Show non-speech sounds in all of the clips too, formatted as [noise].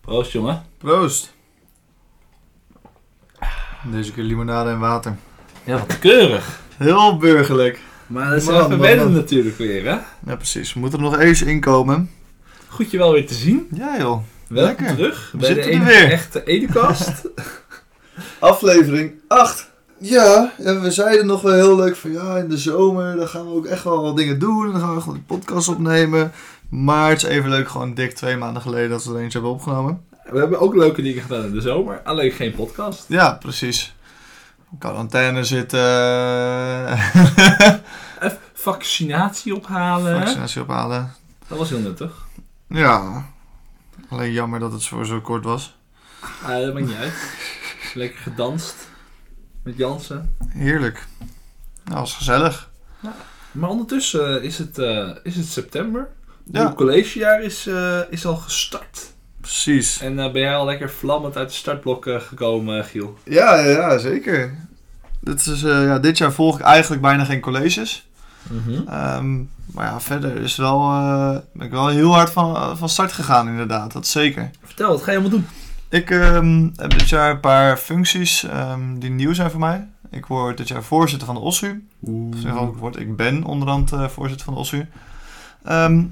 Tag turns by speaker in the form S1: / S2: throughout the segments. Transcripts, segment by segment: S1: Proost, jongen.
S2: Proost. Deze keer limonade en water.
S1: Ja, wat keurig.
S2: Heel burgerlijk.
S1: Maar dat is
S2: Man,
S1: wel
S2: man,
S1: vervelend
S2: man.
S1: natuurlijk weer, hè?
S2: Ja, precies. We moeten er nog eens inkomen.
S1: Goed je wel weer te zien.
S2: Ja, joh.
S1: Welkom
S2: Lekker.
S1: terug
S2: We
S1: bij de
S2: zitten er
S1: enige
S2: weer.
S1: echte Edukast.
S2: Aflevering 8. Ja, en we zeiden nog wel heel leuk van ja, in de zomer dan gaan we ook echt wel wat dingen doen. Dan gaan we gewoon een podcast opnemen. Maar het is even leuk, gewoon dik twee maanden geleden dat we er eentje hebben opgenomen.
S1: We hebben ook leuke dingen gedaan in de zomer, alleen geen podcast.
S2: Ja, precies. Quarantaine zitten,
S1: Even vaccinatie ophalen.
S2: vaccinatie ophalen.
S1: Dat was heel nuttig.
S2: Ja, alleen jammer dat het voor zo kort was.
S1: Ah, dat maakt niet uit. Lekker gedanst met Jansen.
S2: Heerlijk. Nou, was gezellig.
S1: Maar ondertussen eh, is het, eh, is het september. Het
S2: Ja.
S1: nieuwe collegejaar is, eh, is al gestart.
S2: Precies.
S1: En eh, ben jij al lekker vlammend uit de startblok eh, gekomen, Giel?
S2: Ja, ja, zeker. Dit, is, eh, ja, dit jaar volg ik eigenlijk bijna geen colleges. Ehm, maar ja, verder is wel, eh, ben ik wel heel hard van, eh, van start gegaan inderdaad. Dat zeker.
S1: Vertel, wat ga je allemaal doen?
S2: Ik ehm, heb dit jaar een paar functies ehm, die nieuw zijn voor mij. Ik word dit jaar voorzitter van de OSU. Of in ieder geval, ik word- Ik ben onderhand eh, voorzitter van de OSU. Ehm,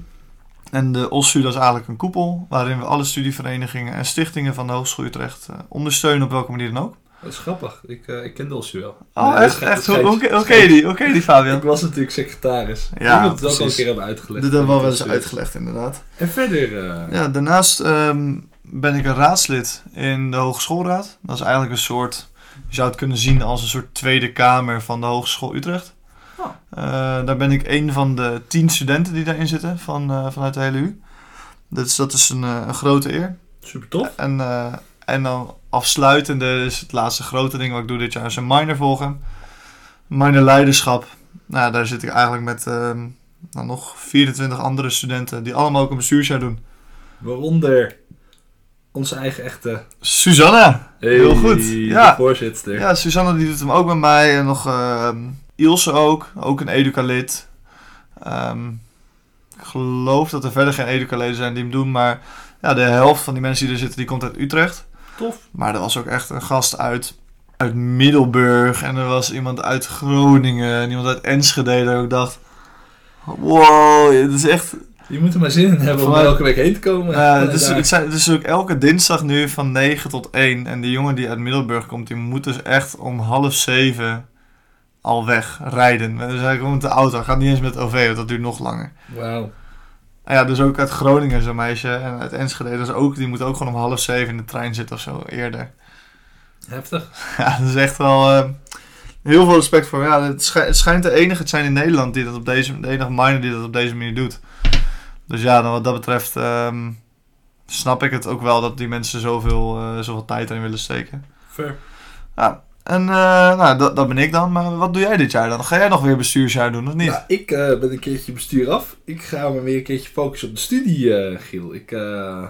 S2: en de OSU dat is eigenlijk een koepel waarin we alle studieverenigingen en stichtingen van de Hogeschool Utrecht eh, ondersteunen op welke manier dan ook.
S1: Dat is grappig. Ik, eh, ik ken Dulce wel.
S2: Oh,
S1: Nee,
S2: echt?
S1: dat
S2: echt?
S1: schijnt-
S2: Hoe-
S1: dat
S2: Hoe hoe
S1: schijnt-
S2: ken je die? Hoe ken je die, Fabian?
S1: Ik was natuurlijk secretaris.
S2: Ja,
S1: Ja, dat ook al een
S2: precies.
S1: keer hebben uitgelegd.
S2: Dit hebben we al wel eens uitgelegd, inderdaad.
S1: En verder... eh,
S2: Ja, daarnaast ehm, ben ik een raadslid in de Hogeschoolraad. Dat is eigenlijk een soort, je zou het kunnen zien als een soort Tweede Kamer van de Hogeschool Utrecht.
S1: Oh.
S2: Eh, daar ben ik een van de tien studenten die daarin zitten van, eh, vanuit de hele U. Dus dat is een, eh, een grote eer.
S1: Super tof.
S2: En, eh, en dan afsluitende is het laatste grote ding wat ik doe dit jaar is een minor volgen. Minor leiderschap. Nou, ja, daar zit ik eigenlijk met ehm, nou, nog 24 andere studenten die allemaal ook een bestuursjaar doen.
S1: Waaronder onze eigen echte...
S2: Susanna! Heel goed, ja.
S1: De voorzitter.
S2: Ja, Susanna die doet hem ook met mij. En nog ehm, Ilse ook, ook een educalid. Ehm, ik geloof dat er verder geen educaleden zijn die hem doen, maar ja, de helft van die mensen die er zitten, die komt uit Utrecht.
S1: Tof.
S2: Maar er was ook echt een gast uit, uit Middelburg. En er was iemand uit Groningen. En iemand uit Enschede. Dat ik dacht... Wow, het is echt...
S1: Je moet er maar zin in hebben om
S2: Vanuit-
S1: elke week heen te komen.
S2: eh, het, is,
S1: Daar.
S2: het, zijn, het is ook elke dinsdag nu van 9 tot 1. En die jongen die uit Middelburg komt, die moet dus echt om half 7 al weg rijden. Dus hij komt met de auto. Hij gaat niet eens met het OV, want dat duurt nog langer.
S1: Wauw.
S2: En ja, dus ook uit Groningen zo'n meisje. En uit Enschede, dus ook, die moet ook gewoon om half 7 in de trein zitten of zo, eerder.
S1: Heftig.
S2: Ja, dat is echt wel eh, heel veel respect voor. Ja, het, schij- het schijnt de enige te zijn in Nederland die dat op deze, de enige minor die dat op deze manier doet. Dus ja, dan wat dat betreft ehm, snap ik het ook wel dat die mensen zoveel, eh, zoveel tijd erin willen steken.
S1: Ver.
S2: En eh, nou, dat, dat ben ik dan. Maar wat doe jij dit jaar dan? Ga jij nog weer bestuursjaar doen of niet?
S1: Nou, ik eh, ben een keertje bestuur af. Ik ga me weer een keertje focussen op de studie, eh, Giel. Ik eh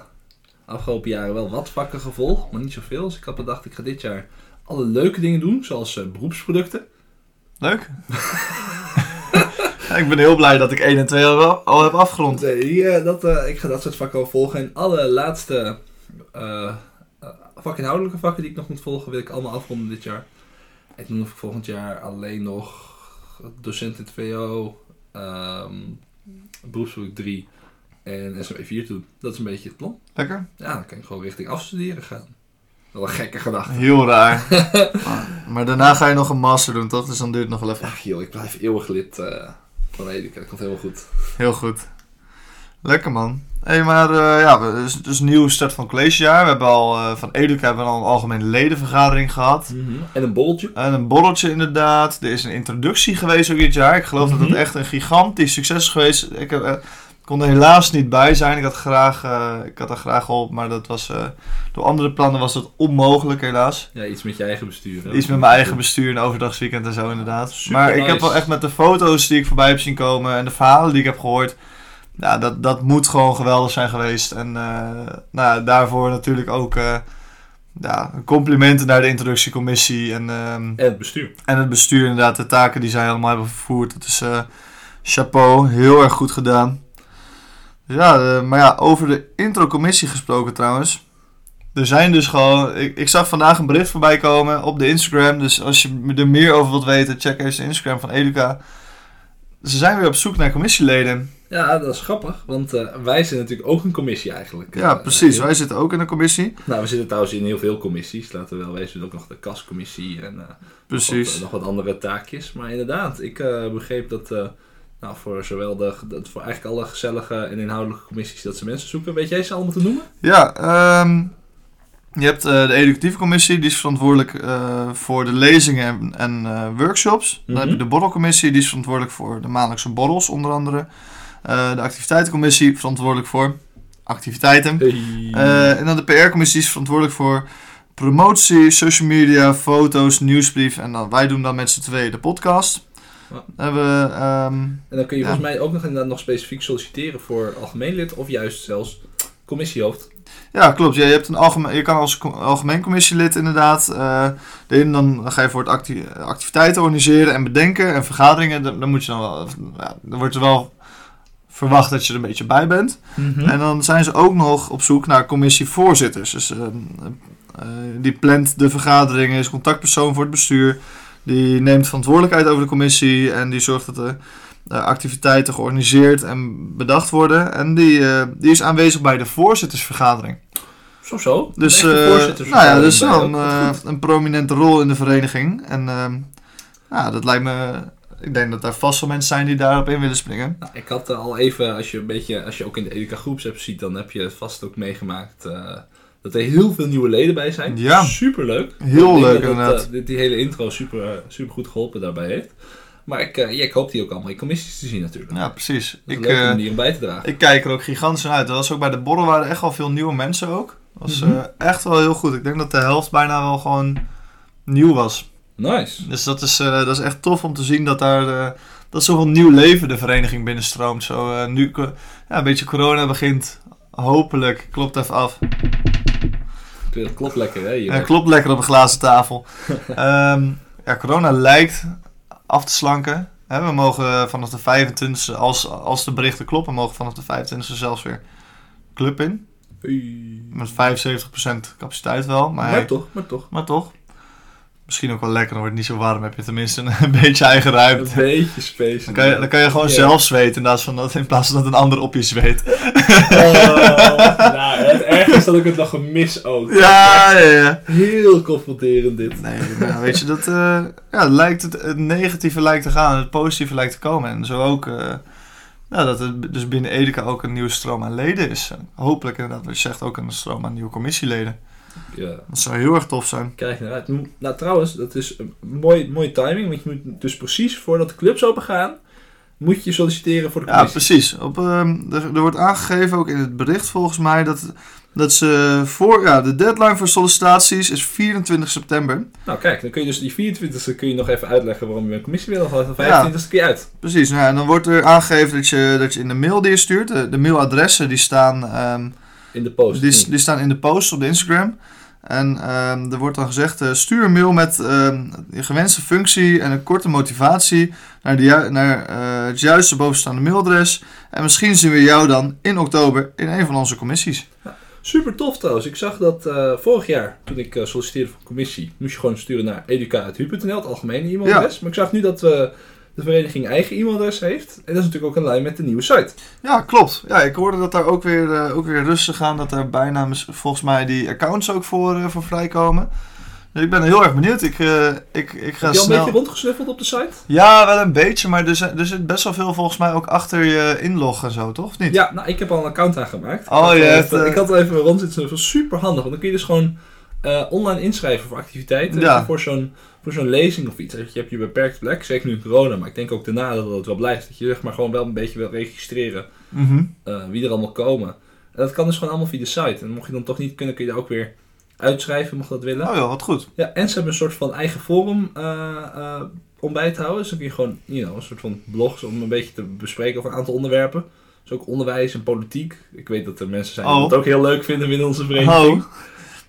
S1: afgelopen jaren wel wat vakken gevolgd, maar niet zoveel. Dus ik had bedacht, ik ga dit jaar alle leuke dingen doen, zoals eh, beroepsproducten.
S2: Leuk? [laughs] Ja, ik ben heel blij dat ik 1 en 2 al, wel- al heb afgerond.
S1: Nee, hier, eh, dat, eh, ik ga dat soort vakken wel volgen. En alle laatste eh, eh, vakinhoudelijke vakken die ik nog moet volgen, wil ik allemaal afronden dit jaar. Ik noem of ik volgend jaar alleen nog docent in het VO, ehm beroepsboek 3 en SME 4 toe. Dat is een beetje het plan.
S2: Lekker?
S1: Ja, dan kan ik gewoon richting afstuderen gaan. Wel een gekke gedachte.
S2: Heel raar. Maar- maar daarna ga je nog een master doen, toch? Dus dan duurt het nog wel even.
S1: Ach joh, ik blijf eeuwig lid eh, van Edeka. Dat komt helemaal goed.
S2: Heel goed. Lekker man. Hé, hey, maar eh, ja, we- dus, dus nieuw start van collegejaar. We hebben al eh, van Educa hebben we al een algemene ledenvergadering gehad.
S1: En een borreltje.
S2: En een borreltje inderdaad. Er is een introductie geweest ook dit jaar. Ik geloof dat
S1: Mhm.
S2: het echt een gigantisch succes is geweest. Ik heb, eh, kon er helaas niet bij zijn. Ik had, graag, eh, ik had er graag op, maar dat was, eh, door andere plannen was dat onmogelijk helaas.
S1: Ja, iets met je eigen bestuur. hè?
S2: Iets met mijn eigen bestuur en overdagsweekend en zo inderdaad.
S1: Super
S2: maar ik
S1: nice.
S2: heb wel echt met de foto's die ik voorbij heb zien komen en de verhalen die ik heb gehoord. Nou, dat, dat moet gewoon geweldig zijn geweest. En eh, nou, daarvoor natuurlijk ook eh, ja, complimenten naar de introductiecommissie en, ehm,
S1: En het bestuur.
S2: en het bestuur inderdaad. De taken die zij allemaal hebben vervoerd. Dat is eh, chapeau, heel erg goed gedaan. Dus ja, eh, maar ja, over de introcommissie gesproken trouwens. er zijn dus gewoon. Ik, ik zag vandaag een bericht voorbij komen op de Instagram. Dus als je er meer over wilt weten, check eens de Instagram van Educa. Ze zijn weer op zoek naar commissieleden.
S1: Ja, dat is grappig, want eh, wij zijn natuurlijk ook een commissie eigenlijk.
S2: Ja,
S1: Eh,
S2: precies.
S1: heel-
S2: Wij zitten ook in de commissie.
S1: Nou, we zitten trouwens in heel veel commissies, laten we wel wezen. Ook nog de kascommissie en eh, Wat, eh,
S2: Precies.
S1: nog wat andere taakjes. Maar inderdaad, ik eh, begreep dat eh, nou, voor zowel de, dat voor eigenlijk alle gezellige en inhoudelijke commissies dat ze mensen zoeken. Weet jij ze allemaal te noemen?
S2: Ja, ehm, je hebt eh, de educatieve commissie, die is verantwoordelijk eh, voor de lezingen en, en, eh, workshops. Dan
S1: Mhm.
S2: heb je de borrelcommissie, die is verantwoordelijk voor de maandelijkse borrels onder andere. Eh, de activiteitencommissie, verantwoordelijk voor activiteiten. Eh, en dan de PR-commissie is verantwoordelijk voor promotie, social media, foto's, nieuwsbrief. En dan, wij doen dan met z'n tweeën de podcast.
S1: Ja.
S2: Dan hebben we, ehm,
S1: en dan kun je
S2: ja.
S1: volgens mij ook nog inderdaad nog specifiek solliciteren voor algemeen lid of juist zelfs commissiehoofd.
S2: ja, klopt. Je, je, hebt een algemeen, je kan als co- algemeen commissielid inderdaad. eh, de ene dan ga je voor het acti- activiteiten organiseren en bedenken en vergaderingen. Dan, dan, moet je dan, wel, ja, dan wordt er wel verwacht dat je er een beetje bij bent.
S1: Hm?
S2: En dan zijn ze ook nog op zoek naar commissievoorzitters. Dus ehm, eh, die plant de vergaderingen, is contactpersoon voor het bestuur. Die neemt verantwoordelijkheid over de commissie en die zorgt dat de eh, activiteiten georganiseerd en bedacht worden. En die, eh, die is aanwezig bij de voorzittersvergadering.
S1: Zo zo.
S2: Dus,
S1: Een echte
S2: eh,
S1: voorzitter-
S2: nou ja, dus
S1: bij ook.
S2: dan
S1: Wat
S2: eh,
S1: goed.
S2: een prominente rol in de vereniging. En ehm, nou, dat lijkt me. Ik denk dat daar vast wel mensen zijn die daarop in willen springen.
S1: Nou, ik had eh, al even, als je, een beetje, als je ook in de Educa Groeps hebt ziet, dan heb je het vast ook meegemaakt eh, dat er heel veel nieuwe leden bij zijn.
S2: Ja.
S1: Superleuk.
S2: Heel
S1: Ik denk
S2: leuk
S1: dat,
S2: inderdaad.
S1: eh, dit, die hele intro super, eh, super goed geholpen daarbij heeft. Maar ik, eh, ja, ik hoop die ook allemaal in commissies te zien natuurlijk.
S2: Ja, precies.
S1: Dat is
S2: Ik,
S1: een leuke
S2: eh,
S1: manier om bij te dragen.
S2: Ik kijk er ook gigantisch naar uit. Dat was ook bij de borrel waren echt wel veel nieuwe mensen ook. Dat was
S1: Mhm.
S2: eh, echt wel heel goed. Ik denk dat de helft bijna wel gewoon nieuw was.
S1: Nice.
S2: Dus dat is, eh, dat is echt tof om te zien dat daar eh dat zoveel nieuw leven de vereniging binnenstroomt. Zo, eh, nu co- ja, een beetje corona begint. Hopelijk klopt even af.
S1: Ik weet, Dat klopt lekker hè. hier.
S2: Ja, klopt lekker op een glazen tafel. Ehm, ja, corona lijkt af te slanken. Hè, we mogen vanaf de 25e, als, als de berichten kloppen, mogen vanaf de 25e zelfs weer club in.
S1: Oei.
S2: Met 75% capaciteit wel. Maar,
S1: Maar toch, maar
S2: [laughs]
S1: toch.
S2: maar toch. Misschien ook wel lekker, dan wordt het niet zo warm. Heb je tenminste een [laughs] beetje eigen ruimte.
S1: Een beetje space.
S2: Dan kan je, dan kan je gewoon
S1: Ja.
S2: zelf zweten in plaats, van dat, in plaats van dat een ander op je zweet.
S1: Oh, nou, het ergste is dat ik het nog gemis ook.
S2: Ja, ja, ja.
S1: Heel confronterend dit.
S2: Nee, nou, weet je, dat, eh, ja, lijkt het, het negatieve lijkt te gaan en het positieve lijkt te komen. En zo ook eh, nou, dat het dus binnen Edeka ook een nieuwe stroom aan leden is. En hopelijk inderdaad, wat je zegt, ook een stroom aan nieuwe commissieleden.
S1: Ja.
S2: Dat zou heel erg tof zijn.
S1: Kijk naar uit. Nou, trouwens, dat is een mooi, mooie timing. Want je moet dus precies voordat de clubs open gaan, moet je solliciteren voor de
S2: Ja,
S1: commissie.
S2: precies. Op, ehm, er, er wordt aangegeven, ook in het bericht volgens mij, dat, dat ze voor, ja, de deadline voor sollicitaties is 24 september.
S1: nou, kijk, dan kun je dus die 24e kun je nog even uitleggen waarom je een commissie wil. Dan gaat de 25e keer uit.
S2: Precies, nou, ja, en dan wordt er aangegeven dat je, dat je in de mail die je stuurt, de, de mailadressen die staan, ehm,
S1: In de post.
S2: Dus
S1: Hmm.
S2: die, die staan in de post op de Instagram. En ehm, er wordt dan gezegd, eh, stuur een mail met ehm, je gewenste functie en een korte motivatie naar, de, ju- naar eh, het juiste bovenstaande mailadres. En misschien zien we jou dan in oktober in een van onze commissies.
S1: Super tof trouwens. Ik zag dat eh, vorig jaar, toen ik eh, solliciteerde voor commissie, moest je gewoon sturen naar educa.hu.nl, het algemene e-mailadres. Maar ik zag nu dat eh, de vereniging eigen e-mailadres heeft. En dat is natuurlijk ook een lijn met de nieuwe site.
S2: Ja, klopt. Ja, ik hoorde dat daar ook weer, eh, ook weer rustig aan. Dat er bijna mis- volgens mij die accounts ook voor, eh, voor vrijkomen. Dus ik ben heel erg benieuwd. Ik, eh, ik, ik ga
S1: Heb je al een
S2: snel.
S1: beetje rondgesnuffeld op de site?
S2: Ja, wel een beetje, maar er, zijn- er zit best wel veel volgens mij ook achter je inlog en zo, toch? Of niet?
S1: Ja, nou, ik heb al een account aangemaakt.
S2: Oh,
S1: ik
S2: je
S1: had, al
S2: hebt,
S1: even-
S2: eh,
S1: Ik had al even rond zitten snuffelen. Super handig, want dan kun je dus gewoon eh, online inschrijven voor activiteiten.
S2: Ja.
S1: En Voor zo'n voor zo'n lezing of iets. Je hebt je beperkt plek, zeker nu in corona, maar ik denk ook daarna dat het wel blijft. Dat je zeg maar gewoon wel een beetje wil registreren
S2: Mhm.
S1: eh, wie er allemaal komen. En dat kan dus gewoon allemaal via de site. En mocht je dan toch niet kunnen, kun je daar ook weer uitschrijven, mocht je dat willen.
S2: Oh ja, wat goed.
S1: Ja, en ze hebben een soort van eigen forum eh, eh, om bij te houden. Dus dan kun je gewoon, you know, een soort van blogs om een beetje te bespreken over een aantal onderwerpen. Dus ook onderwijs en politiek. Ik weet dat er mensen zijn die
S2: Oh.
S1: dat ook heel leuk vinden binnen onze vereniging.
S2: Oh,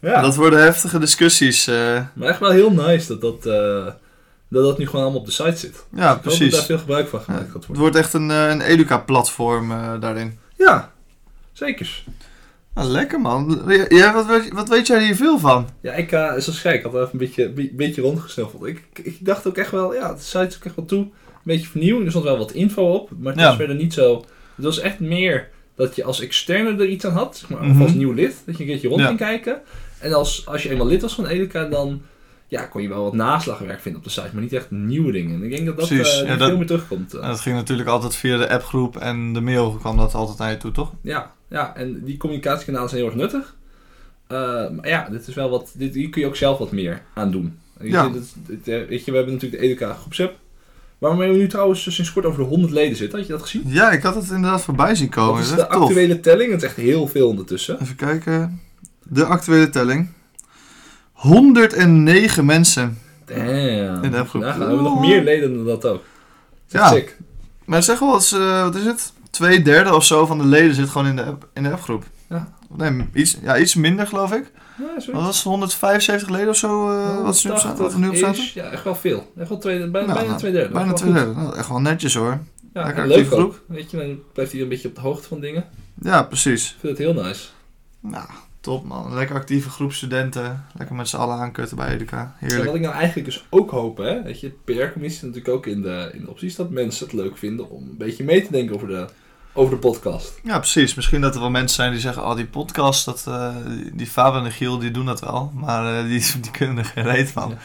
S1: Ja.
S2: dat worden heftige discussies. eh.
S1: Maar echt wel heel nice dat dat, eh, dat dat nu gewoon allemaal op de site zit. Ik hoop
S2: ja,
S1: dat daar
S2: precies.
S1: veel gebruik van
S2: Ja,
S1: gemaakt gaat
S2: het
S1: worden.
S2: wordt echt een, eh, een educa-platform eh, daarin.
S1: Ja, zekers.
S2: Ah, lekker man. Ja, wat, weet, wat weet jij hier veel van?
S1: Ja, ik, eh zoals gek, ik had even een beetje, be- beetje rondgesnuffeld. Ik, ik, ik dacht ook echt wel, ja, de site is ook echt wel toe. Een beetje vernieuwing, er stond wel wat info op, maar het
S2: Ja.
S1: was verder niet zo... Het was echt meer dat je als externe er iets aan had, zeg maar, of als
S2: Mhm.
S1: nieuw lid, dat je een keertje rond
S2: Ja.
S1: ging kijken. En als, als je eenmaal lid was van Edeka, dan ja, kon je wel wat naslagwerk vinden op de site, maar niet echt nieuwe dingen. En ik denk dat dat,
S2: Precies,
S1: eh,
S2: ja,
S1: niet
S2: dat-
S1: veel meer terugkomt. eh.
S2: En dat ging natuurlijk altijd via de appgroep en de mail kwam dat altijd naar je toe, toch?
S1: Ja, ja, en die communicatiekanalen zijn heel erg nuttig. Eh, maar ja, dit is wel wat, dit, hier kun je ook zelf wat meer aan doen. Weet
S2: Ja.
S1: je, dit- dit, eh, weet je, we hebben natuurlijk de Educa groepsapp. Waarmee we nu trouwens sinds kort over de 100 leden zitten. Had je dat gezien?
S2: Ja, ik had het inderdaad voorbij zien komen.
S1: dat is
S2: Dat
S1: de
S2: Oh, is tof.
S1: actuele telling. Het is echt heel veel ondertussen.
S2: Even kijken. De actuele telling. 109 mensen.
S1: Damn.
S2: In de appgroep.
S1: Nagaan, we hebben nog meer leden dan dat ook. Dat is
S2: Ja.
S1: sick.
S2: Maar zeg wel, eens, eh, wat is het? Twee derde of zo van de leden zit gewoon in de, app, in de appgroep.
S1: Ja.
S2: Nee, iets, ja, iets minder geloof ik.
S1: Ja, sorry.
S2: Wat was het, 175 leden of zo? eh, wat ze nu op zaten? Wat er nu op
S1: 80
S2: zaten?
S1: is, Ja, echt wel veel. Echt wel twee, bijna,
S2: Nou,
S1: Eh, bijna
S2: nou,
S1: twee derde.
S2: Bijna
S1: Echt wel
S2: twee
S1: goed.
S2: derde. Nou, echt wel netjes hoor.
S1: Ja,
S2: Lekker
S1: en
S2: actieve
S1: leuk ook.
S2: groep.
S1: Weet je, dan blijft hij een beetje op de hoogte van dingen.
S2: Ja, precies.
S1: Ik vind het heel nice.
S2: Nou, top man. Lekker actieve groep studenten. Lekker met z'n allen aankutten bij Educa.
S1: En
S2: Heerlijk.
S1: wat ik nou eigenlijk dus ook hoop, hè, weet je, PR-commissie is natuurlijk ook in de, in de opties dat mensen het leuk vinden om een beetje mee te denken over de, over de podcast.
S2: Ja, precies. Misschien dat er wel mensen zijn die zeggen... Oh, die podcast, dat, eh, die Fabian en Giel, die doen dat wel. Maar eh, die, [laughs] die kunnen er geen reet van.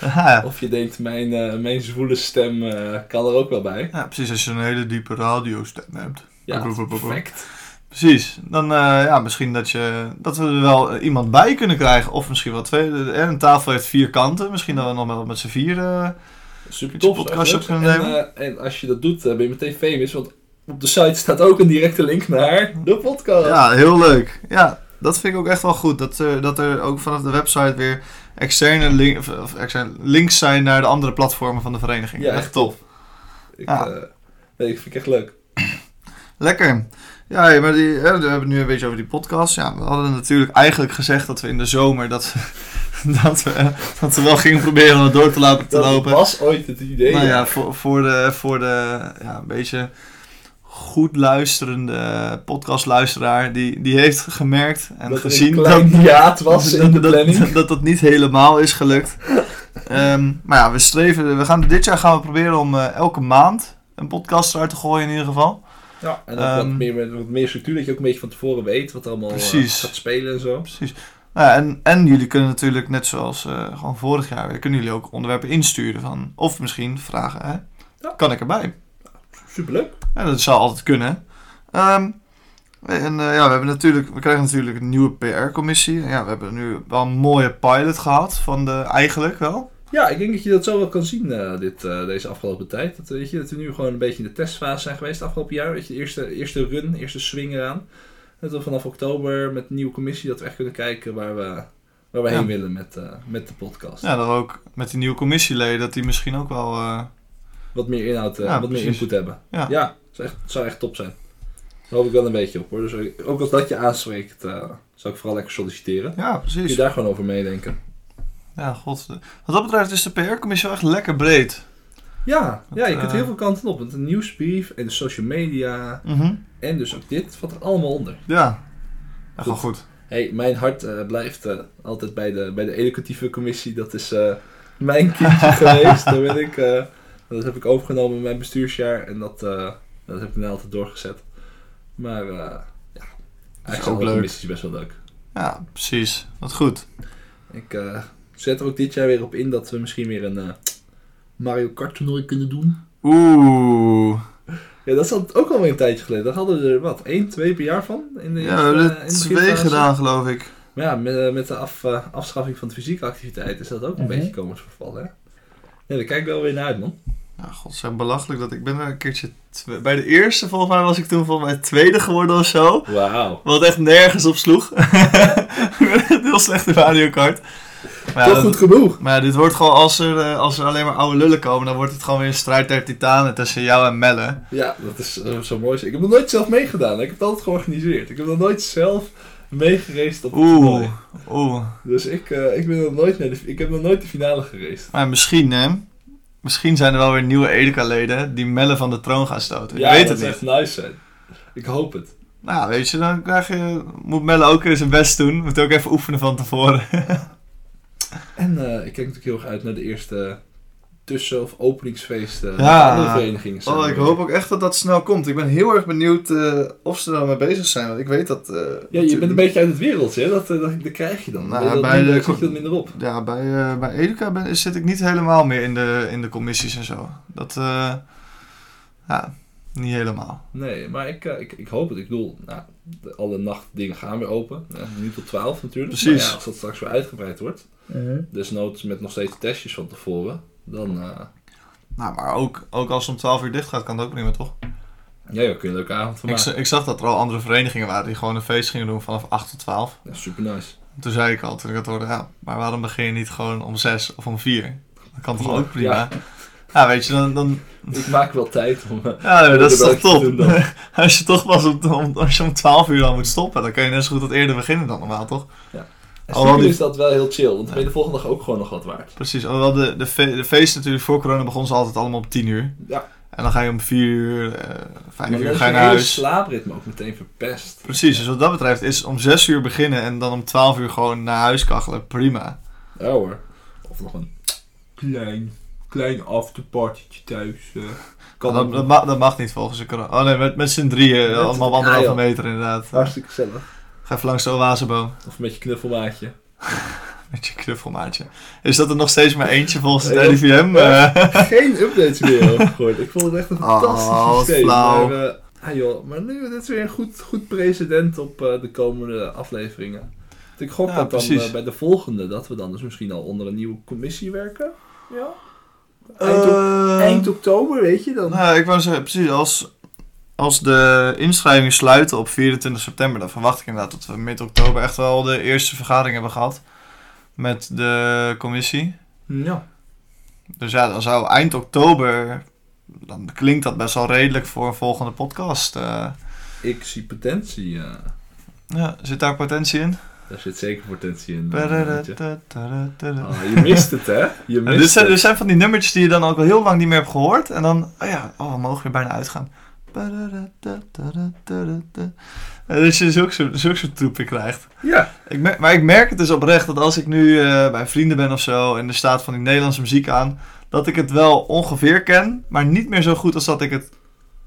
S2: Ja.
S1: Of je denkt, mijn, eh, mijn zwoele stem eh, kan er ook wel bij.
S2: ja, precies. Als je een hele diepe radiostem hebt.
S1: Ja,
S2: Boep, boep, boep, boep.
S1: perfect.
S2: Precies. Dan eh, ja, misschien dat, je, dat we er wel eh, iemand bij kunnen krijgen. Of misschien wel twee. De- En een tafel heeft vier kanten. Misschien dat we nog wel met z'n vier... eh,
S1: Super
S2: Kun je
S1: tof.
S2: een podcast
S1: echt leuk.
S2: op kunnen
S1: en, eh, en als je dat doet, eh, ben je meteen famous, want op de site staat ook een directe link naar de podcast.
S2: Ja, heel leuk. Ja, dat vind ik ook echt wel goed. Dat, eh, dat er ook vanaf de website weer externe, link, of, of externe links zijn naar de andere platformen van de vereniging.
S1: Ja,
S2: echt
S1: echt
S2: tof.
S1: Ik,
S2: Ja.
S1: eh, nee, ik vind het echt leuk.
S2: Lekker. Ja, hey, maar die, eh, we hebben het nu een beetje over die podcast. Ja, we hadden natuurlijk eigenlijk gezegd dat we [laughs] in de zomer dat, we- dat, we, eh, dat we wel gingen proberen om het door te laten te
S1: Dat
S2: lopen.
S1: was ooit het idee.
S2: Nou ja, voor, voor de, voor de ja, een beetje goed luisterende podcastluisteraar, die, die heeft gemerkt en
S1: dat er
S2: gezien
S1: een klein hiaat was
S2: [laughs] Dat-
S1: in de
S2: dat-
S1: planning.
S2: Dat, dat dat niet helemaal is gelukt. Ehm, maar ja, we streven. We gaan, dit jaar gaan we proberen om eh, elke maand een podcast eruit te gooien in ieder geval.
S1: Ja, en ook wat,
S2: Ehm,
S1: meer, met wat meer structuur, dat je ook een beetje van tevoren weet wat er allemaal eh,
S2: Precies.
S1: gaat spelen en zo.
S2: Precies. Nou ja, en, en jullie kunnen natuurlijk, net zoals eh, gewoon vorig jaar, weer, kunnen jullie ook onderwerpen insturen van. Of misschien vragen, hè?
S1: Ja.
S2: Kan ik erbij?
S1: Superleuk.
S2: Ja, dat zou altijd kunnen. Ehm, en eh, ja, we, hebben natuurlijk, we krijgen natuurlijk een nieuwe PR-commissie. Ja, we hebben nu wel een mooie pilot gehad van de eigenlijk wel.
S1: Ja, ik denk dat je dat zo wel kan zien eh, dit, eh, deze afgelopen tijd. Dat, weet je, dat we nu gewoon een beetje in de testfase zijn geweest afgelopen jaar. Weet je, de eerste, eerste run, eerste swing eraan. Dat we vanaf oktober met een nieuwe commissie dat we echt kunnen kijken waar we, waar we
S2: Ja.
S1: heen willen met, eh, met de podcast.
S2: Ja, dat we ook met die nieuwe commissieleden, dat die misschien ook wel... eh,
S1: Wat meer inhoud, eh,
S2: Ja,
S1: wat meer
S2: precies.
S1: input hebben.
S2: Ja.
S1: zou, echt, zou echt top zijn. Daar hoop ik wel een beetje op hoor. Dus eh, ook als dat je aanspreekt, eh, zou ik vooral lekker solliciteren.
S2: ja,
S1: Kun je
S2: precies.
S1: daar gewoon over meedenken.
S2: Ja, god. Wat dat betreft is de PR-commissie wel echt lekker breed.
S1: Ja, ja je kunt
S2: eh,
S1: heel veel kanten op. Met een nieuwsbrief en de social media
S2: Mhm.
S1: en dus ook dit valt er allemaal onder.
S2: Ja. Ja, gewoon goed.
S1: hey, mijn hart eh, blijft eh, altijd bij de, bij de educatieve commissie. Dat is eh, [laughs] mijn [laughs] kindje geweest. Daar ben ik, eh, dat heb ik overgenomen in mijn bestuursjaar en dat, eh, dat heb ik nu altijd doorgezet. Maar eh, ja, eigenlijk
S2: ook
S1: zijn alle
S2: leuk.
S1: commissies best wel leuk.
S2: Ja, precies. Wat goed.
S1: Ik eh, zet er ook dit jaar weer op in dat we misschien weer een eh, Mario Kart toernooi kunnen doen.
S2: Oeh.
S1: Ja, dat zat ook alweer een tijdje geleden. Daar hadden we er wat, één, twee per jaar van. In de
S2: Ja, we
S1: eerste- eh,
S2: hebben
S1: in
S2: er
S1: de
S2: twee
S1: beginfase.
S2: gedaan, geloof ik.
S1: Maar ja, met, eh, met de af, eh, afschaffing van de fysieke activiteit is dat ook een
S2: Mhm.
S1: beetje komend verval, hè? Nee, daar kijk ik wel weer naar uit, man.
S2: Nou, god, zijn belachelijk dat ik ben er een keertje... twe- Bij de eerste, volgens mij, was ik toen volgens mij tweede geworden of zo.
S1: Wauw.
S2: Wat echt nergens op sloeg. [laughs] ik ben echt heel slecht in Mario Kart. Maar ja,
S1: Toch
S2: dat-
S1: goed genoeg.
S2: Maar ja, dit wordt gewoon, als er, eh, als er alleen maar oude lullen komen, dan wordt het gewoon weer een strijd der titanen tussen jou en Melle.
S1: Ja, dat is eh, zo mooi. Ik heb nog nooit zelf meegedaan. hè. Ik heb het altijd georganiseerd. Ik heb nog nooit zelf meegereisd op het toernooi.
S2: Oeh, oeh.
S1: Dus ik, eh, ik, ben nog nooit naar de, ik heb nog nooit de finale gereisd.
S2: Maar misschien, hè? Misschien zijn er wel weer nieuwe Edeka-leden die Melle van de troon gaan stoten. Je
S1: Ja, dat
S2: weet het
S1: zou
S2: niet.
S1: echt nice zijn. Ik hoop het.
S2: Nou, weet je, dan krijg je, moet Melle ook weer zijn best doen. Moet ook even oefenen van tevoren.
S1: En eh, ik kijk natuurlijk heel erg uit naar de eerste tussen- of openingsfeest eh,
S2: Ja.
S1: van de verenigingen.
S2: Oh, ik hoop ook echt dat dat snel komt. Ik ben heel erg benieuwd eh, of ze daarmee bezig zijn. Want ik weet dat... eh,
S1: Ja, je bent
S2: natuurlijk-
S1: een beetje uit het wereldje, hè? Dat, eh, dat, dat krijg je dan.
S2: Nou,
S1: dat
S2: bij
S1: minder,
S2: de-
S1: zit je dat minder op.
S2: Ja, bij, eh, bij Educa ben, zit ik niet helemaal meer in de, in de commissies en zo. Dat, eh, ja, niet helemaal.
S1: Nee, maar ik, eh, ik, ik hoop het. Ik bedoel, nou, de- alle nachtdingen gaan weer open. Eh, nu tot 12 natuurlijk.
S2: Precies.
S1: Maar ja, als dat straks weer uitgebreid wordt, desnoods met nog steeds testjes van tevoren, dan eh,
S2: Nou, maar ook, ook als het om 12 uur dicht gaat, kan dat ook niet meer, toch?
S1: ja, ja, kun je er ook avond van
S2: Ik,
S1: maken.
S2: z- ik zag dat er al andere verenigingen waren die gewoon een feest gingen doen vanaf 8 tot 12.
S1: Ja, super nice.
S2: Toen zei ik al, toen ik dat hoorde, ja, maar waarom begin je niet gewoon om 6 of om 4? Dat kan toch ook prima? Ja,
S1: Ja.
S2: weet je, dan... dan
S1: Ik maak wel tijd om... eh,
S2: ja, dat is
S1: wel
S2: toch
S1: iets te
S2: top?
S1: doen dan.
S2: [laughs] als je toch pas om, om- als je om 12 uur dan moet stoppen, dan kan je net zo goed wat eerder beginnen dan normaal, toch?
S1: En
S2: Al wel
S1: stiekem
S2: die-
S1: [laughs] is dat wel heel chill, want dan ben je de volgende dag ook gewoon nog wat waard.
S2: Precies, alhoewel de, de, fe- de feesten natuurlijk voor corona begonnen ze altijd allemaal om 10 uur.
S1: Ja.
S2: En dan ga je om 4 uur, eh 5
S1: Maar
S2: uur
S1: dan is
S2: ga je
S1: je
S2: naar
S1: hele
S2: huis.
S1: slaapritme ook meteen verpest.
S2: Precies, dus wat dat betreft is om 6 uur beginnen en dan om 12 uur gewoon naar huis kachelen, prima.
S1: Ja Oh, hoor. Of nog een klein, klein afterpartytje thuis. eh. kan
S2: dat,
S1: ook
S2: dat,
S1: nog.
S2: mag, dat mag niet volgens de corona. Oh nee, met, met z'n drieën,
S1: Met-
S2: allemaal op
S1: ja,
S2: anderhalve
S1: joh. Ah.
S2: meter inderdaad.
S1: Hartstikke gezellig.
S2: Ga even langs de oaseboom [laughs]
S1: Of met je knuffelmaatje.
S2: met je knuffelmaatje. Is dat er nog steeds maar eentje volgens het
S1: Ja, joh.
S2: RIVM?
S1: Ja.
S2: Eh,
S1: [laughs] Geen updates meer over gehoord. Ik vond het echt een
S2: Oh,
S1: fantastisch
S2: wat
S1: systeem.
S2: flauw.
S1: Maar, eh, ah joh, maar nu, dit is weer een goed, goed precedent op eh, de komende afleveringen. Want Ik gok
S2: Ja,
S1: dat dan
S2: precies.
S1: eh, bij de volgende, dat we dan dus misschien al onder een nieuwe commissie werken. Ja. Eind, ok-
S2: eh,
S1: eind oktober, weet je dan.
S2: Nou, ik wou zeggen, precies, als, als de inschrijvingen sluiten op 24 september, dan verwacht ik inderdaad dat we mid-oktober echt wel de eerste vergadering hebben gehad met de commissie.
S1: Ja.
S2: Dus ja, dan zou eind oktober, dan klinkt dat best wel redelijk voor een volgende podcast. eh.
S1: Ik zie potentie. eh.
S2: ja, zit daar potentie in?
S1: daar zit zeker potentie in. weet je.
S2: Padadadadadada.
S1: Ah, je mist het, hè? Je
S2: [laughs] Ja, dit,
S1: mist
S2: Dus zijn, dit
S1: het.
S2: zijn van die nummertjes die je dan ook al heel lang niet meer hebt gehoord. En dan, oh ja, oh, we mogen weer bijna uitgaan. Padadadadadadada. En Eh, dat je zulke soort, zulke soort troepen krijgt.
S1: Ja.
S2: Ik mer- maar ik merk het dus oprecht dat als ik nu eh, bij vrienden ben of zo en er staat van die Nederlandse muziek aan, dat ik het wel ongeveer ken, maar niet meer zo goed als dat ik het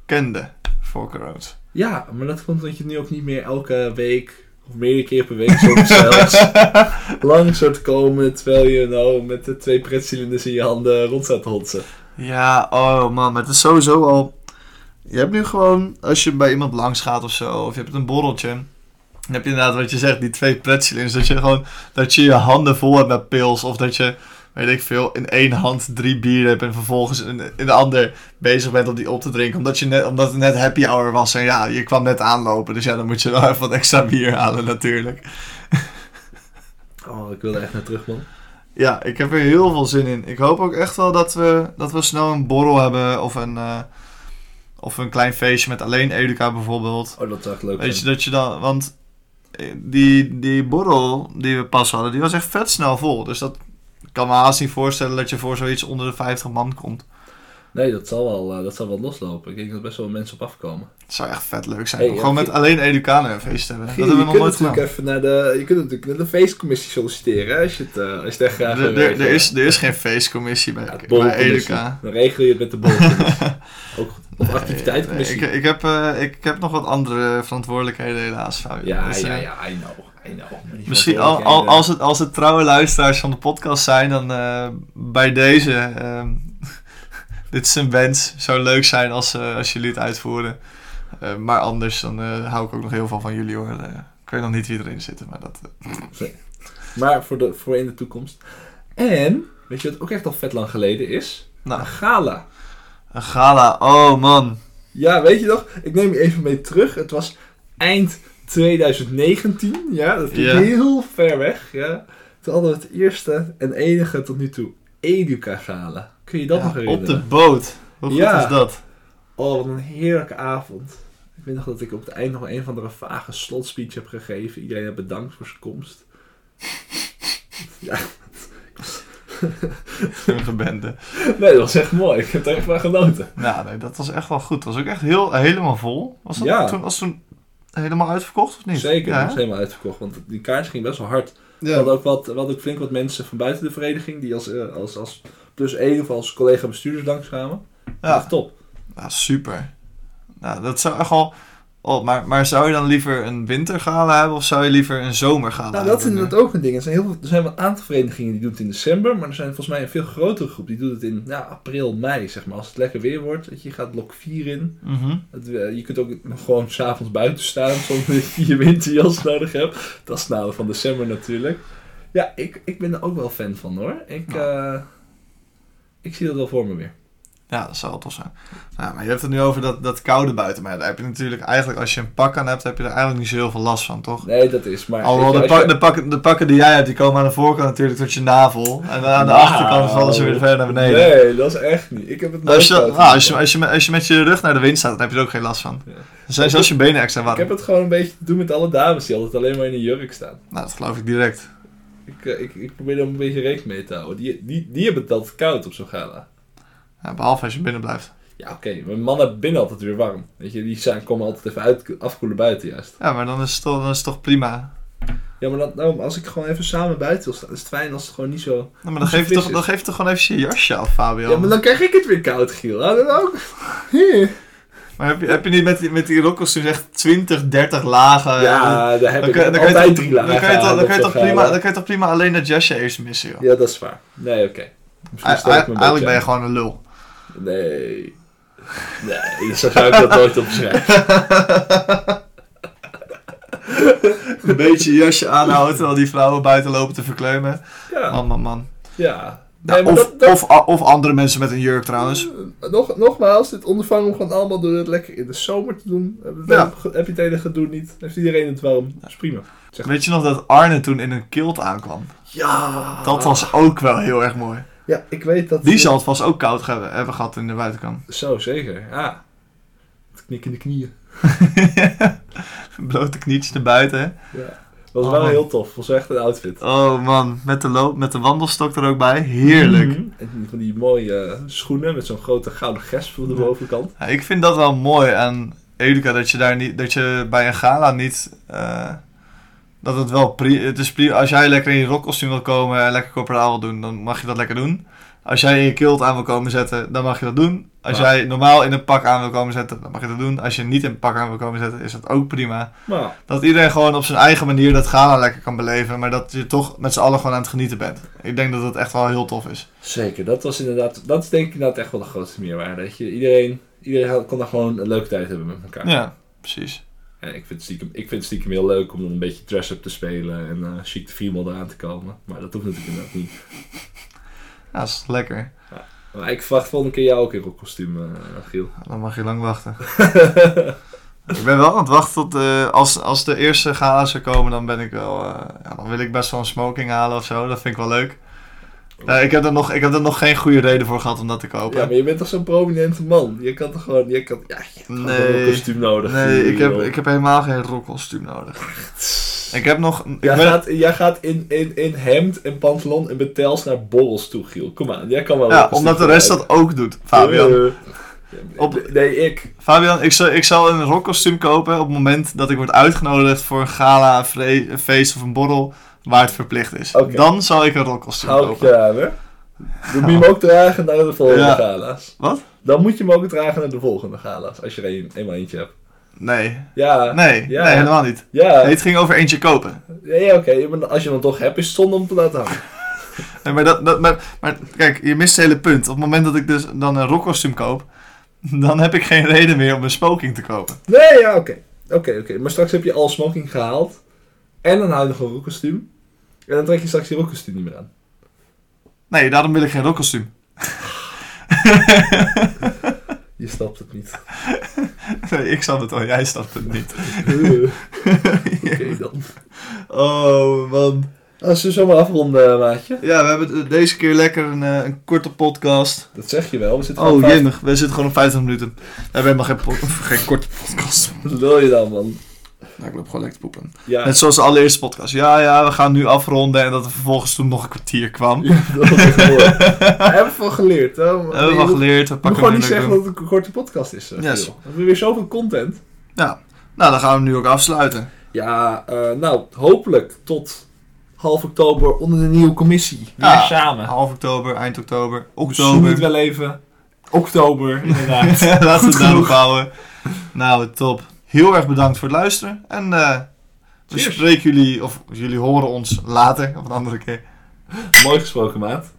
S2: kende voor Corot.
S1: ja, maar dat komt omdat je nu ook niet meer elke week of meerdere keer per week soms zelfs
S2: [laughs]
S1: langs wordt komen terwijl je nou met de twee pretcilinders in je handen rond staat te hotsen.
S2: Ja, oh man, maar het is sowieso al. Je hebt nu gewoon, als je bij iemand langs gaat of zo, of je hebt een borreltje, dan heb je inderdaad wat je zegt, die twee pretzelings. Dat je gewoon, dat je je handen vol hebt met pils, of dat je, weet ik veel, in één hand drie bieren hebt en vervolgens in, in de ander bezig bent om die op te drinken, omdat, je net, omdat het net happy hour was en ja, je kwam net aanlopen. Dus ja, dan moet je wel even wat extra bier halen natuurlijk.
S1: Oh, ik wil er echt naar terug, man.
S2: Ja, ik heb er heel veel zin in. Ik hoop ook echt wel dat we, dat we snel een borrel hebben of een, eh, of een klein feestje met alleen Educa bijvoorbeeld.
S1: Oh, dat zou echt leuk
S2: Weet je
S1: zijn.
S2: dat je dan, want eh, die, die borrel die we pas hadden, die was echt vet snel vol. Dus dat ik kan me haast niet voorstellen dat je voor zoiets onder de 50 man komt.
S1: Nee, dat zal, wel, eh, dat zal wel loslopen. Ik denk dat best wel mensen op afkomen.
S2: Het zou echt vet leuk zijn.
S1: Hey,
S2: om
S1: ja,
S2: gewoon met
S1: Gie-
S2: alleen Educa een feest te hebben.
S1: Giel,
S2: Dat hebben we nog
S1: je,
S2: nooit
S1: kunt
S2: gedaan.
S1: natuurlijk even naar de, je kunt natuurlijk naar de feestcommissie solliciteren hè, als je, het, eh, als je daar graag
S2: Er,
S1: wil
S2: er,
S1: werken.
S2: er is, er is geen feestcommissie
S1: Ja,
S2: bij,
S1: het
S2: bij
S1: borrelcommissie.
S2: Educa.
S1: Dan regel je het met de bolcommissie.
S2: [laughs]
S1: Ook goed. Of activiteitencommissie.
S2: Nee, Ik, ik, heb, eh, ik heb nog wat andere verantwoordelijkheden helaas, Fabio.
S1: Ja,
S2: Dus, eh,
S1: ja, ja, I know. I know. Maar die
S2: Misschien al,
S1: verantwoordelijkheden-
S2: al, als, het, als het trouwe luisteraars van de podcast zijn, dan eh, bij deze. ehm, [laughs] dit is een wens. Het zou leuk zijn als, eh, als jullie het uitvoeren. Eh, maar anders, dan eh, hou ik ook nog heel veel van jullie hoor. Eh, ik weet nog niet wie erin zit, maar dat... eh,
S1: Maar voor, de, voor in de toekomst. En, weet je wat ook echt al vet lang geleden is?
S2: nou,
S1: Een gala.
S2: een gala. Oh man.
S1: Ja, weet je nog? Ik neem je even mee terug. Het was eind 2019. Ja, dat is
S2: Ja.
S1: heel ver weg. Ja. Toen hadden we het eerste en enige tot nu toe Educa gala. Kun je dat
S2: Ja,
S1: nog
S2: op de
S1: herinneren?
S2: boot. Hoe goed
S1: Ja.
S2: is dat?
S1: Oh, wat een heerlijke avond. Ik weet nog dat ik op het eind nog een van de vage slotspeech heb gegeven. Iedereen heeft bedankt voor zijn komst. ja,
S2: Een bende.
S1: nee, dat was echt mooi. Ik heb er echt van genoten.
S2: Nou, nee, dat was echt wel goed. Het was ook echt heel, helemaal vol. Was dat
S1: Ja.
S2: toen, was toen helemaal uitverkocht of niet?
S1: Zeker,
S2: Ja,
S1: dat
S2: hè?
S1: is helemaal uitverkocht. Want die kaart ging best wel hard. We
S3: Ja.
S1: hadden ook, wat, we hadden ook flink wat mensen van buiten de vereniging die als, eh, als, als plus één of als collega bestuurders langskwamen.
S2: ja.
S1: Echt top.
S2: Ja, super. Nou, dat zou echt al... Oh, maar, maar zou je dan liever een wintergala hebben of zou je liever een zomergala
S1: Nou,
S2: hebben?
S1: dat is inderdaad ook een ding. Er zijn, heel veel, er zijn wel een aantal verenigingen die doen het in december, maar er zijn volgens mij een veel grotere groep die doet het in ja, april, mei, zeg maar. Als het lekker weer wordt, weet je, je gaat blok 4 in.
S2: Mhm.
S1: Het, eh, je kunt ook gewoon s'avonds buiten staan zonder dat je je winterjas nodig hebt. Dat is het nadeel van december natuurlijk. Ja, ik, ik ben er ook wel fan van hoor. Ik,
S2: Nou.
S1: eh, ik zie dat wel voor me weer.
S2: Ja, dat zou wel tof zijn. Nou, maar je hebt het nu over dat, dat koude buiten. Maar daar heb je natuurlijk eigenlijk, als je een pak aan hebt, heb je er eigenlijk niet zo heel veel last van, toch?
S1: Nee, dat is maar...
S2: Alhoewel, de,
S1: weet je, als
S2: pak, de, pakken, de pakken die jij hebt, die komen aan de voorkant natuurlijk tot je navel. En aan de
S1: Nou.
S2: achterkant vallen ze weer verder naar
S1: je-
S2: beneden.
S1: Nee, dat is echt niet. Ik heb het nooit
S2: Als je,
S1: koud.
S2: nou, als, je, als, je, met- als je met je rug naar de wind staat, dan heb je er ook geen last van.
S1: Ja.
S2: Dan zijn zelfs je benen extra warm.
S1: Ik heb het gewoon een beetje te doen met alle dames die altijd alleen maar in een jurk staan.
S2: Nou, dat geloof ik direct.
S1: Ik, eh, ik, ik probeer daar een beetje rekening mee te houden. Die, die, die hebben het altijd koud op zo'n gala.
S2: Ja, behalve als je binnen blijft.
S1: Ja, oké. maar mannen hebben binnen altijd weer warm. Weet je, die zijn, komen altijd even uit, afkoelen buiten juist.
S2: Ja, maar dan is het toch, dan is het toch prima. Nou,
S1: Ja, maar dan, nou, als ik gewoon even samen buiten wil staan, is het fijn als het gewoon niet zo...
S2: Nou, maar dan
S1: Als je
S2: geef, je
S1: fris
S2: toch,
S1: is.
S2: dan geef je toch gewoon even je jasje af, Fabio.
S1: Ja, maar dan krijg ik het weer koud, Giel. Hou dat ook.
S2: Eh, Maar heb je, heb je niet met die, met die rokkostuums echt 20, 30 lagen?
S1: ja, daar heb
S2: Dan
S1: ik
S2: kun, dan, kun je
S1: altijd
S2: toch,
S1: drie
S2: dan
S1: lagen
S2: kun je toch,
S1: aan
S2: dan
S1: op
S2: kun je
S1: zo'n
S2: toch prima,
S1: gala.
S2: dan kun je toch prima alleen dat jasje eerst missen, joh.
S1: Ja, dat is waar. Nee, oké. Misschien
S2: Ei-
S1: stel ik
S2: ei-
S1: me een
S2: Eigenlijk ben je
S1: beetje
S2: gewoon een lul.
S1: aan. Nee. Nee, zo zou ik dat nooit
S2: [laughs]
S1: opschrijven.
S2: Een beetje je jasje aanhouden terwijl die vrouwen buiten lopen te verkleumen.
S1: Ja,
S2: Man, man, man.
S1: ja. Nee,
S2: Nou,
S1: maar
S2: of,
S1: dat- dat-
S2: Of, a- of andere mensen met een jurk trouwens.
S1: Eh, Nog, nogmaals, dit ondervangen we gewoon allemaal door het lekker in de zomer te doen. Heb je het
S2: Ja.
S1: hele- heb je het hele gedoe niet? Heeft iedereen het warm? Dat is prima.
S2: Weet je nog dat Arne toen in een kilt aankwam?
S1: Ja.
S2: Dat was ook wel heel erg mooi.
S1: Ja, ik weet dat...
S2: Die zal het vast ook koud ge- hebben gehad in de buitenkant. [laughs]
S1: Zo, zeker. Ja. Het knik in de knieën.
S2: Blote knietjes naar buiten.
S1: Ja. Was
S2: Oh,
S1: wel
S2: man.
S1: heel tof. Was wel echt een outfit.
S2: Oh man, met de, loop, met de wandelstok er ook bij. Heerlijk.
S1: Mhm. En van die mooie eh, schoenen met zo'n grote gouden gesp op de
S2: Ja.
S1: bovenkant.
S2: Ja, Nou, ik vind dat wel mooi aan Educa dat je daar niet, dat je bij een gala niet. eh, dat het wel pri het is pri Als jij lekker in je rockkostuum wil komen en lekker corporaal wil doen, dan mag je dat lekker doen. Als jij in je kilt aan wil komen zetten, dan mag je dat doen. Als
S1: Ja.
S2: jij normaal in een pak aan wil komen zetten, dan mag je dat doen. Als je niet in een pak aan wil komen zetten, is dat ook prima.
S1: Maar
S2: Dat iedereen gewoon op zijn eigen manier dat gala lekker kan beleven, maar dat je toch met z'n allen gewoon aan het genieten bent. Ik denk dat dat echt wel heel tof is.
S1: zeker. Dat was inderdaad... Dat is denk ik inderdaad echt wel de grootste meerwaarde. Dat je iedereen... Iedereen had- kon daar gewoon een leuke tijd hebben met elkaar.
S2: Ja, precies.
S1: Ja, Eh, ik, vind het stiekem, ik vind het stiekem heel leuk om dan een beetje dress-up te spelen en eh chic de female eraan te komen. Maar dat hoeft natuurlijk inderdaad niet.
S2: Ja, dat is lekker.
S1: Maar ik verwacht volgende keer jou ook in rockkostuum, eh, Giel.
S2: Dan mag je
S1: [laughs]
S2: lang wachten. Ik ben wel aan het wachten tot eh, als, als de eerste gala's er komen, dan ben ik wel. eh, ja, dan wil ik best wel een smoking halen of zo. Dat vind ik wel leuk. Nou, ik, heb er nog, ik heb er nog geen goede reden voor gehad om dat te kopen.
S1: ja, maar je bent toch zo'n prominente man? Je kan toch gewoon... Je kan, ja, je hebt gewoon
S2: Nee.
S1: een kostuum nodig.
S2: nee, ik heb,
S1: Giel.
S2: ik heb helemaal geen rockkostuum
S1: [laughs]
S2: nodig. Ik heb nog. Ik
S1: Jij
S2: ben-
S1: gaat, jij gaat in, in, in hemd en pantalon en betels naar borrels toe, Giel. Kom aan, jij kan wel
S2: ja,
S1: rockkostuum
S2: omdat de rest
S1: gebruiken.
S2: dat ook doet, Fabian.
S1: Eh,
S2: Op-
S1: Nee, ik.
S2: Fabian, ik zal, ik zal een rockkostuum kopen op het moment dat ik word uitgenodigd voor een gala, een, vre- een feest of een borrel waar het verplicht is.
S1: Oké.
S2: Dan zal ik een rockkostuum
S1: Hou ik
S2: kopen.
S1: je aan, hè? Dan moet je hem ook dragen naar de volgende
S2: Ja.
S1: gala's.
S2: Wat?
S1: Dan moet je hem ook dragen naar de volgende gala's, als je er een, eenmaal eentje hebt.
S2: Nee,
S1: Ja,
S2: nee,
S1: Ja.
S2: nee, helemaal niet.
S1: ja,
S2: Nee, het ging over eentje kopen.
S1: ja, ja, oké, maar als je hem toch hebt, is het zonde om te laten hangen.
S2: Nee, maar, dat, dat, maar, maar kijk, je mist het hele punt. Op het moment dat ik dus dan een rockkostuum koop, [laughs] dan heb ik geen reden meer om een smoking te kopen.
S1: Nee, ja, oké. Oké, oké, maar straks heb je al smoking gehaald. En dan hou je nog een rookkostuum. En dan trek je straks je rookkostuum niet meer aan.
S2: Nee, daarom wil ik geen rockkostuum. [laughs]
S1: Je snapt het niet.
S2: [laughs] Nee, ik snap het al, jij snapt het niet.
S1: oké, dan.
S2: Oh man.
S1: Als we zomaar afronden, eh, maatje.
S2: Ja, we hebben het deze keer lekker een, eh, een korte podcast.
S1: Dat zeg je wel. We zitten
S2: Oh
S1: gewoon
S2: jemig, we zitten gewoon op 50 minuten. We hebben helemaal geen, pod- [laughs] geen korte podcast.
S1: Wat wil je dan, man?
S2: Nou, ik loop gewoon lekker te poepen.
S1: Ja,
S2: Net zoals de allereerste podcast. Ja, ja, we gaan nu afronden en dat er vervolgens toen nog een kwartier kwam.
S1: Ja, dat was echt
S2: [laughs]
S1: mooi. Daar hebben we van geleerd. Hè? Maar
S2: Hebben we
S1: je
S2: wel
S1: moet-
S2: geleerd, we
S1: moet
S2: pakken
S1: gewoon
S2: het
S1: niet
S2: nu
S1: zeggen
S2: lekker door.
S1: dat het een korte podcast is. eh,
S2: Yes.
S1: Giel. We hebben weer zoveel content.
S2: Ja, Nou, dan gaan we hem nu ook afsluiten.
S1: Ja, eh, nou, hopelijk tot half oktober onder de nieuwe commissie. Weer
S2: Ja.
S1: samen.
S2: Half oktober, eind oktober,
S1: Zoen het
S2: Ah, oktober.
S1: wel even. Oktober, inderdaad.
S2: [laughs] Laten we het daarop
S1: genoeg.
S2: houden. Nou, top. Heel erg bedankt voor het luisteren. En eh, we
S1: Cheers.
S2: spreken jullie, of jullie horen ons later, op een andere keer.
S1: Mooi gesproken, maat.